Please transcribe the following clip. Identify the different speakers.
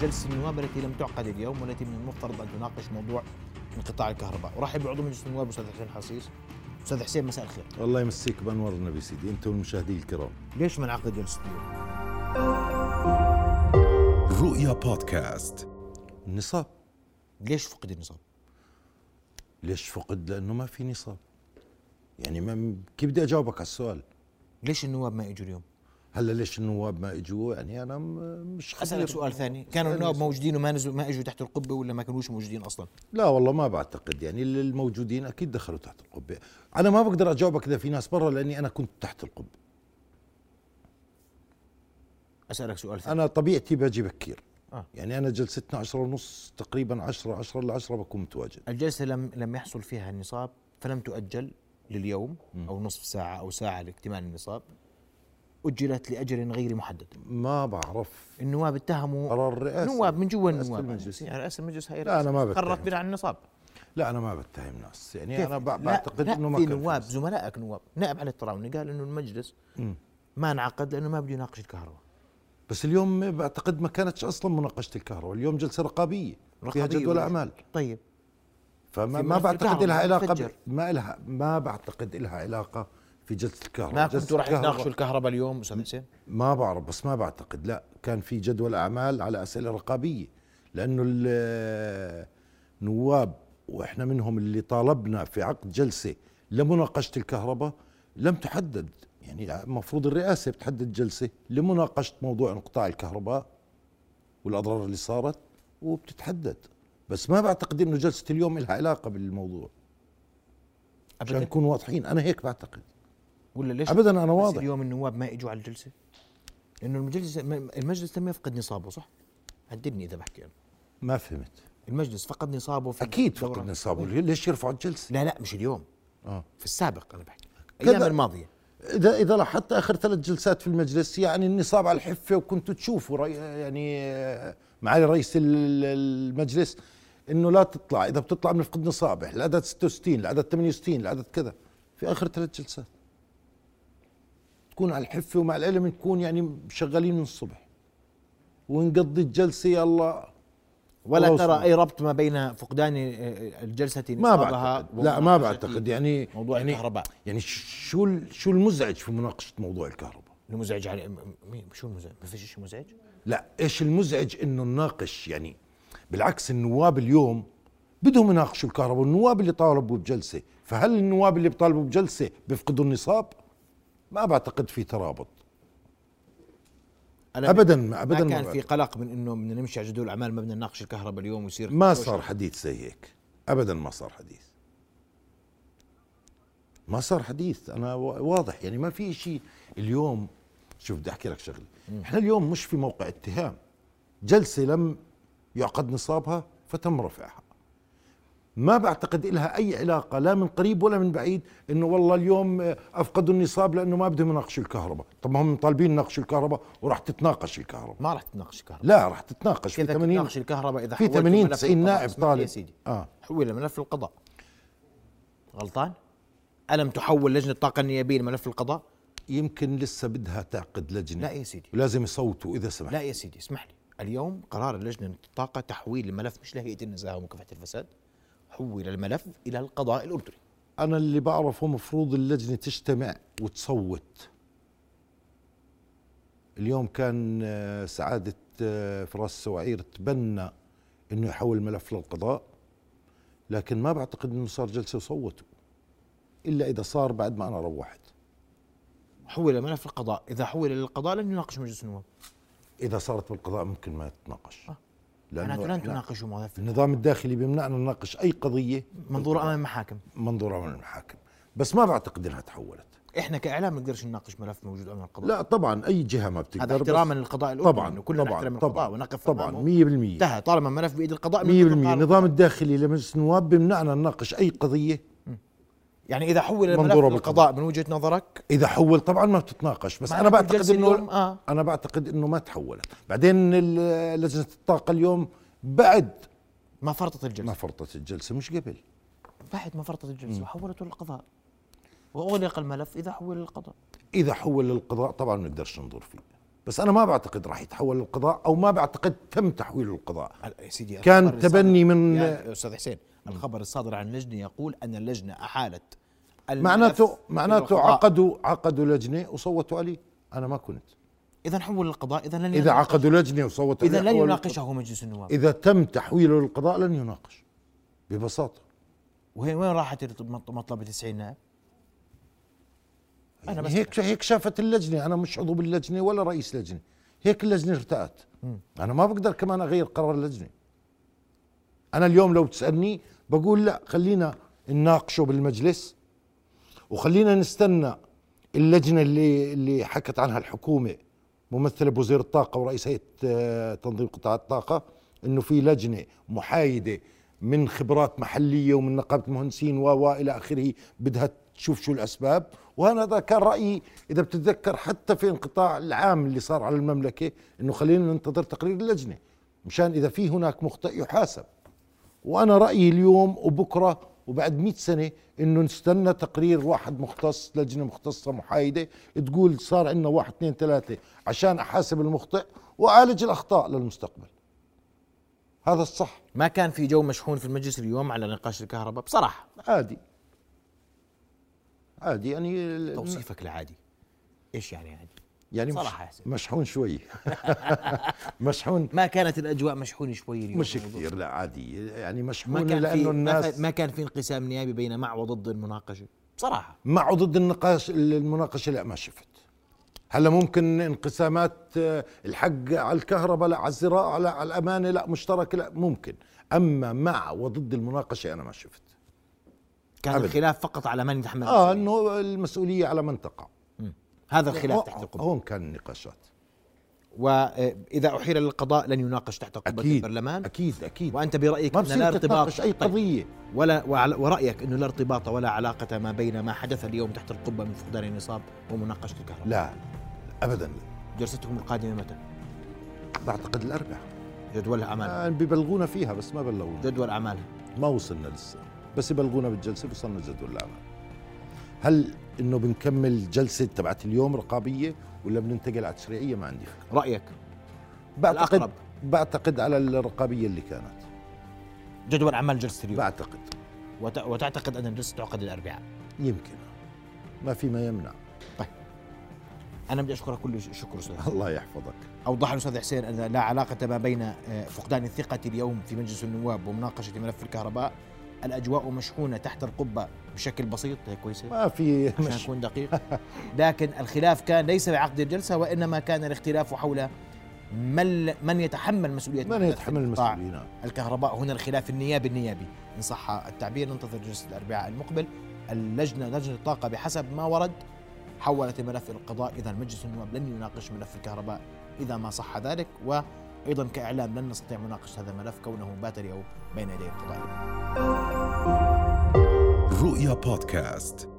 Speaker 1: جلسة النواب التي لم تعقد اليوم والتي من المفترض أن تناقش موضوع انقطاع الكهرباء ورحب بعضو مجلس النواب الأستاذ حسين حصيص أستاذ حسين مساء الخير
Speaker 2: الله يمسيك بانوار النبي سيدي انت والمشاهدين الكرام
Speaker 1: ليش ما نعقد جلسة اليوم؟
Speaker 3: رؤيا بودكاست
Speaker 2: النصاب
Speaker 1: ليش فقد النظام؟
Speaker 2: ليش فقد لانه ما في نصاب يعني ما كيف بدي اجاوبك على السؤال
Speaker 1: ليش النواب ما اجوا اليوم؟
Speaker 2: هلا ليش النواب ما اجوا يعني انا م- مش خبير.
Speaker 1: اسالك سؤال ثاني كانوا النواب موجودين وما نزلوا ما اجوا تحت القبه ولا ما كانوش موجودين اصلا
Speaker 2: لا والله ما بعتقد يعني اللي الموجودين اكيد دخلوا تحت القبه انا ما بقدر اجاوبك اذا في ناس برا لاني انا كنت تحت القبه
Speaker 1: اسالك سؤال ثاني
Speaker 2: انا طبيعتي باجي بكير
Speaker 1: آه.
Speaker 2: يعني انا جلستنا عشرة ونص تقريبا عشرة عشرة ل 10 بكون متواجد
Speaker 1: الجلسه لم لم يحصل فيها النصاب فلم تؤجل لليوم او نصف ساعه او ساعه لاكتمال النصاب اجلت لاجل غير محدد
Speaker 2: ما بعرف
Speaker 1: النواب اتهموا
Speaker 2: قرار الرئاسه
Speaker 1: نواب من جوا
Speaker 2: رئاسة
Speaker 1: النواب
Speaker 2: المجلس.
Speaker 1: يعني رئاسه المجلس هاي
Speaker 2: لا، أنا ما بتهم.
Speaker 1: قررت بناء على النصاب
Speaker 2: لا انا ما بتهم ناس يعني
Speaker 1: كيف؟
Speaker 2: انا
Speaker 1: لا،
Speaker 2: بع- بعتقد
Speaker 1: لا،
Speaker 2: انه ما
Speaker 1: في
Speaker 2: كان في
Speaker 1: نواب
Speaker 2: ناس.
Speaker 1: زملائك نواب نائب علي الطراوني قال انه المجلس ما انعقد لانه ما بده يناقش الكهرباء
Speaker 2: بس اليوم بعتقد ما كانتش اصلا مناقشه الكهرباء اليوم جلسه رقابيه فيها
Speaker 1: رقابية
Speaker 2: جدول
Speaker 1: ولا-
Speaker 2: اعمال
Speaker 1: طيب
Speaker 2: فما
Speaker 1: في
Speaker 2: ما
Speaker 1: ملف
Speaker 2: بعتقد
Speaker 1: الكهرباء
Speaker 2: لها علاقه ب...
Speaker 1: تفجر.
Speaker 2: ما لها ما بعتقد لها علاقه في جلسه الكهرباء
Speaker 1: ما
Speaker 2: جلسة
Speaker 1: كنتوا راح
Speaker 2: الكهرباء-
Speaker 1: تناقشوا الكهرباء اليوم استاذ حسين
Speaker 2: ما بعرف بس ما بعتقد لا كان في جدول اعمال على اسئله رقابيه لانه ال- النواب واحنا منهم اللي طالبنا في عقد جلسه لمناقشه الكهرباء لم تحدد يعني المفروض الرئاسه بتحدد جلسه لمناقشه موضوع انقطاع الكهرباء والاضرار اللي صارت وبتتحدد بس ما بعتقد انه جلسه اليوم لها علاقه بالموضوع عشان
Speaker 1: ابدا
Speaker 2: نكون واضحين انا هيك بعتقد
Speaker 1: ولا ليش
Speaker 2: ابدا انا
Speaker 1: بس
Speaker 2: واضح
Speaker 1: اليوم النواب ما اجوا على الجلسه لانه المجلس المجلس لم يفقد نصابه صح هددني اذا بحكي انا
Speaker 2: ما فهمت
Speaker 1: المجلس فقد نصابه في
Speaker 2: اكيد
Speaker 1: الدورة.
Speaker 2: فقد نصابه ليش يرفعوا الجلسه
Speaker 1: لا لا مش اليوم
Speaker 2: اه
Speaker 1: في السابق انا بحكي
Speaker 2: كذا.
Speaker 1: الايام الماضيه
Speaker 2: اذا اذا لاحظت اخر ثلاث جلسات في المجلس يعني النصاب على الحفه وكنتوا تشوفوا ري يعني آه، معالي رئيس ال- المجلس انه لا تطلع اذا بتطلع بنفقد نصابه العدد 66 العدد 68 العدد كذا في اخر ثلاث جلسات تكون على الحفه ومع العلم نكون يعني شغالين من الصبح ونقضي الجلسه يلا
Speaker 1: ولا
Speaker 2: الله
Speaker 1: ترى
Speaker 2: يسلمك.
Speaker 1: اي ربط ما بين فقدان آه، الجلسه
Speaker 2: ما
Speaker 1: نصابها
Speaker 2: بعتقد لا ما
Speaker 1: ومناقشة
Speaker 2: بعتقد يعني
Speaker 1: موضوع
Speaker 2: يعني
Speaker 1: الكهرباء
Speaker 2: يعني شو ال- شو المزعج في مناقشه موضوع الكهرباء
Speaker 1: المزعج على م- مين شو المزعج ما فيش شيء مزعج
Speaker 2: لا ايش المزعج انه نناقش يعني بالعكس النواب اليوم بدهم يناقشوا الكهرباء والنواب اللي طالبوا بجلسه فهل النواب اللي بطالبوا بجلسه بيفقدوا النصاب ما بعتقد في ترابط
Speaker 1: أنا
Speaker 2: ابدا ما
Speaker 1: ما
Speaker 2: ابدا ما,
Speaker 1: كان في
Speaker 2: بعتقد.
Speaker 1: قلق من انه بدنا نمشي على جدول الاعمال ما بدنا نناقش الكهرباء اليوم ويصير
Speaker 2: ما صار حديث زي هيك ابدا ما صار حديث ما صار حديث انا وا- واضح يعني ما في شيء اليوم شوف بدي احكي لك شغله احنا اليوم مش في موقع اتهام جلسه لم يعقد نصابها فتم رفعها ما بعتقد إلها أي علاقة لا من قريب ولا من بعيد إنه والله اليوم آه، أفقدوا النصاب لأنه ما بدهم يناقشوا الكهرباء طب ما هم طالبين يناقشوا الكهرباء وراح تتناقش الكهرباء
Speaker 1: ما راح تناقش الكهرباء
Speaker 2: لا راح تتناقش في
Speaker 1: كذا
Speaker 2: 80
Speaker 1: تناقش الكهرباء اذا
Speaker 2: في
Speaker 1: حولت
Speaker 2: 80
Speaker 1: ملف
Speaker 2: 90
Speaker 1: القضاء.
Speaker 2: نائب
Speaker 1: اسمح لي يا
Speaker 2: طالب.
Speaker 1: سيدي
Speaker 2: آه.
Speaker 1: حول ملف القضاء غلطان الم تحول لجنه الطاقه النيابيه لملف القضاء
Speaker 2: يمكن لسه بدها تعقد لجنه
Speaker 1: لا يا سيدي.
Speaker 2: ولازم يصوتوا اذا سمحت
Speaker 1: لا يا سيدي اسمح لي اليوم قرار لجنه الطاقه تحويل الملف مش لهيئه النزاهه ومكافحه الفساد حول الملف الى القضاء الاردني
Speaker 2: انا اللي بعرفه مفروض اللجنه تجتمع وتصوت اليوم كان آه، سعاده آه، فراس سواعير تبنى انه يحول الملف للقضاء لكن ما بعتقد انه صار جلسه وصوتوا الا اذا صار بعد ما انا روحت
Speaker 1: حول الملف للقضاء اذا حول للقضاء لن يناقش مجلس النواب
Speaker 2: اذا صارت بالقضاء ممكن ما تتناقش
Speaker 1: آه.
Speaker 2: لانه
Speaker 1: معناته لن
Speaker 2: إحنا
Speaker 1: تناقشوا ملف
Speaker 2: النظام الداخلي بيمنعنا نناقش اي قضيه
Speaker 1: منظور امام المحاكم
Speaker 2: منظور امام المحاكم بس ما بعتقد انها تحولت
Speaker 1: احنا كاعلام ما نقدرش نناقش ملف موجود امام القضاء
Speaker 2: لا طبعا اي جهه ما بتقدر
Speaker 1: هذا احتراما للقضاء الاردني
Speaker 2: طبعا
Speaker 1: إنه كلنا
Speaker 2: طبعا
Speaker 1: نحترم القضاء
Speaker 2: طبعا
Speaker 1: ونقف أمامه.
Speaker 2: طبعا 100%
Speaker 1: انتهى طالما الملف بايد القضاء
Speaker 2: 100%
Speaker 1: من القضاء.
Speaker 2: النظام الداخلي لمجلس النواب بيمنعنا نناقش اي قضيه
Speaker 1: يعني اذا حول الملف
Speaker 2: منظوره
Speaker 1: للقضاء من وجهه نظرك
Speaker 2: اذا حول طبعا ما بتتناقش بس
Speaker 1: مع
Speaker 2: انا
Speaker 1: إنه
Speaker 2: بعتقد
Speaker 1: الجلسة اليوم،
Speaker 2: انه
Speaker 1: آه.
Speaker 2: انا بعتقد انه ما تحولت بعدين ال- لجنه الطاقه اليوم بعد
Speaker 1: ما فرطت
Speaker 2: ما
Speaker 1: الجلسه
Speaker 2: فرطت الجلسه مش قبل
Speaker 1: بعد ما فرطت الجلسه وحولته للقضاء واغلق الملف اذا حول للقضاء
Speaker 2: اذا حول للقضاء طبعا ما بنقدرش ننظر فيه بس انا ما بعتقد راح يتحول للقضاء او ما بعتقد تم تحويله للقضاء
Speaker 1: يا سيدي
Speaker 2: كان
Speaker 1: الخبر الصادر-
Speaker 2: تبني من-
Speaker 1: يا استاذ حسين الخبر الصادر عن اللجنه يقول ان اللجنه احالت الملف
Speaker 2: معناته
Speaker 1: إلى
Speaker 2: معناته
Speaker 1: القضاء.
Speaker 2: عقدوا عقدوا لجنه وصوتوا عليه انا ما كنت
Speaker 1: اذا حول للقضاء اذا لن
Speaker 2: اذا
Speaker 1: يناقش-
Speaker 2: عقدوا لجنه وصوتوا
Speaker 1: اذا
Speaker 2: عليه
Speaker 1: لن
Speaker 2: أول-
Speaker 1: يناقشه مجلس النواب
Speaker 2: اذا تم تحويله للقضاء لن يناقش ببساطه
Speaker 1: وهي وين راحت مطلب 90 نائب؟ أنا
Speaker 2: أنا
Speaker 1: بس-
Speaker 2: بس يعني هيك هيك شافت اللجنه انا مش عضو باللجنه ولا رئيس لجنه هيك اللجنه ارتأت انا ما بقدر كمان اغير قرار اللجنه انا اليوم لو تسالني بقول لا خلينا نناقشه بالمجلس وخلينا نستنى اللجنه اللي اللي حكت عنها الحكومه ممثله بوزير الطاقه ورئيس هيئه آه، تنظيم قطاع الطاقه انه في لجنه محايده من خبرات محليه ومن نقابه مهندسين و و الى اخره بدها تشوف شو الاسباب وانا هذا كان رايي اذا بتتذكر حتى في انقطاع العام اللي صار على المملكه انه خلينا ننتظر تقرير اللجنه مشان اذا في هناك مخطئ يحاسب وانا رايي اليوم وبكره وبعد 100 سنه انه نستنى تقرير واحد مختص لجنه مختصه محايده تقول صار عندنا واحد اثنين ثلاثه عشان احاسب المخطئ واعالج الاخطاء للمستقبل هذا الصح
Speaker 1: ما كان في جو مشحون في المجلس اليوم على نقاش الكهرباء بصراحه
Speaker 2: عادي عادي يعني ال-
Speaker 1: توصيفك لعادي ايش يعني عادي؟
Speaker 2: يعني مش
Speaker 1: صراحة يا سيدي.
Speaker 2: مشحون شوي مشحون
Speaker 1: ما كانت الاجواء مشحونه شوي اليوم
Speaker 2: مش
Speaker 1: بالموضوع.
Speaker 2: كثير لا عادي يعني
Speaker 1: ما
Speaker 2: مشحون
Speaker 1: كان في
Speaker 2: لانه
Speaker 1: ما
Speaker 2: الناس
Speaker 1: في- ما كان في انقسام نيابي بين مع وضد المناقشه بصراحه
Speaker 2: مع وضد النقاش المناقشه لا ما شفت هلا ممكن انقسامات آه، الحق على الكهرباء لا على الزراعه لا على الامانه لا مشترك لا ممكن اما مع وضد المناقشه انا ما شفت
Speaker 1: كان
Speaker 2: أبداً.
Speaker 1: الخلاف فقط على من يتحمل
Speaker 2: اه
Speaker 1: المسؤولية.
Speaker 2: انه المسؤوليه على من تقع
Speaker 1: نعم. هذا الخلاف تحت
Speaker 2: هون-
Speaker 1: القبه
Speaker 2: هون كان النقاشات
Speaker 1: واذا احيل للقضاء لن يناقش تحت قبه
Speaker 2: اكيد
Speaker 1: البرلمان
Speaker 2: اكيد اكيد
Speaker 1: وانت برايك
Speaker 2: ما
Speaker 1: ان لا
Speaker 2: بصير
Speaker 1: ارتباط
Speaker 2: تتناقش اي
Speaker 1: طيب.
Speaker 2: قضيه
Speaker 1: ولا وعلى- ورايك انه لا ارتباط ولا علاقه ما بين ما حدث اليوم تحت القبه من فقدان النصاب ومناقشه الكهرباء
Speaker 2: لا ابدا لا
Speaker 1: جلستكم القادمه متى؟
Speaker 2: بعتقد الاربع
Speaker 1: جدول اعمالها
Speaker 2: آه ببلغونا فيها بس ما بلغونا
Speaker 1: جدول اعمالها
Speaker 2: ما وصلنا لسه بس يبلغونا بالجلسه بيوصلنا جدول الاعمال هل انه بنكمل جلسه تبعت اليوم رقابيه ولا بننتقل على تشريعيه ما عندي فكره
Speaker 1: رايك الأقرب.
Speaker 2: بعتقد بعتقد على الرقابيه اللي كانت
Speaker 1: جدول اعمال جلسه اليوم
Speaker 2: بعتقد
Speaker 1: وت... وتعتقد ان الجلسه تعقد الاربعاء
Speaker 2: يمكن ما في ما يمنع
Speaker 1: انا بدي اشكرك كل ش- شكر استاذ حسين.
Speaker 2: الله يحفظك
Speaker 1: اوضح الاستاذ حسين ان لا علاقه ما بين آه، فقدان الثقه اليوم في مجلس النواب ومناقشه ملف الكهرباء الاجواء مشحونه تحت القبه بشكل بسيط هيك كويسه
Speaker 2: ما في
Speaker 1: عشان
Speaker 2: مش
Speaker 1: أكون دقيق لكن الخلاف كان ليس بعقد الجلسة وإنما كان الاختلاف حول من من يتحمل مسؤولية
Speaker 2: من يتحمل المسؤولين
Speaker 1: الكهرباء هنا الخلاف النيابي النيابي إن صح التعبير ننتظر جلسة الأربعاء المقبل اللجنة لجنة الطاقة بحسب ما ورد حولت الملف إلى القضاء إذا مجلس النواب لن يناقش ملف الكهرباء إذا ما صح ذلك وأيضا كإعلام لن نستطيع مناقشة هذا الملف كونه بات اليوم بين يدي القضاء
Speaker 3: رؤيا بودكاست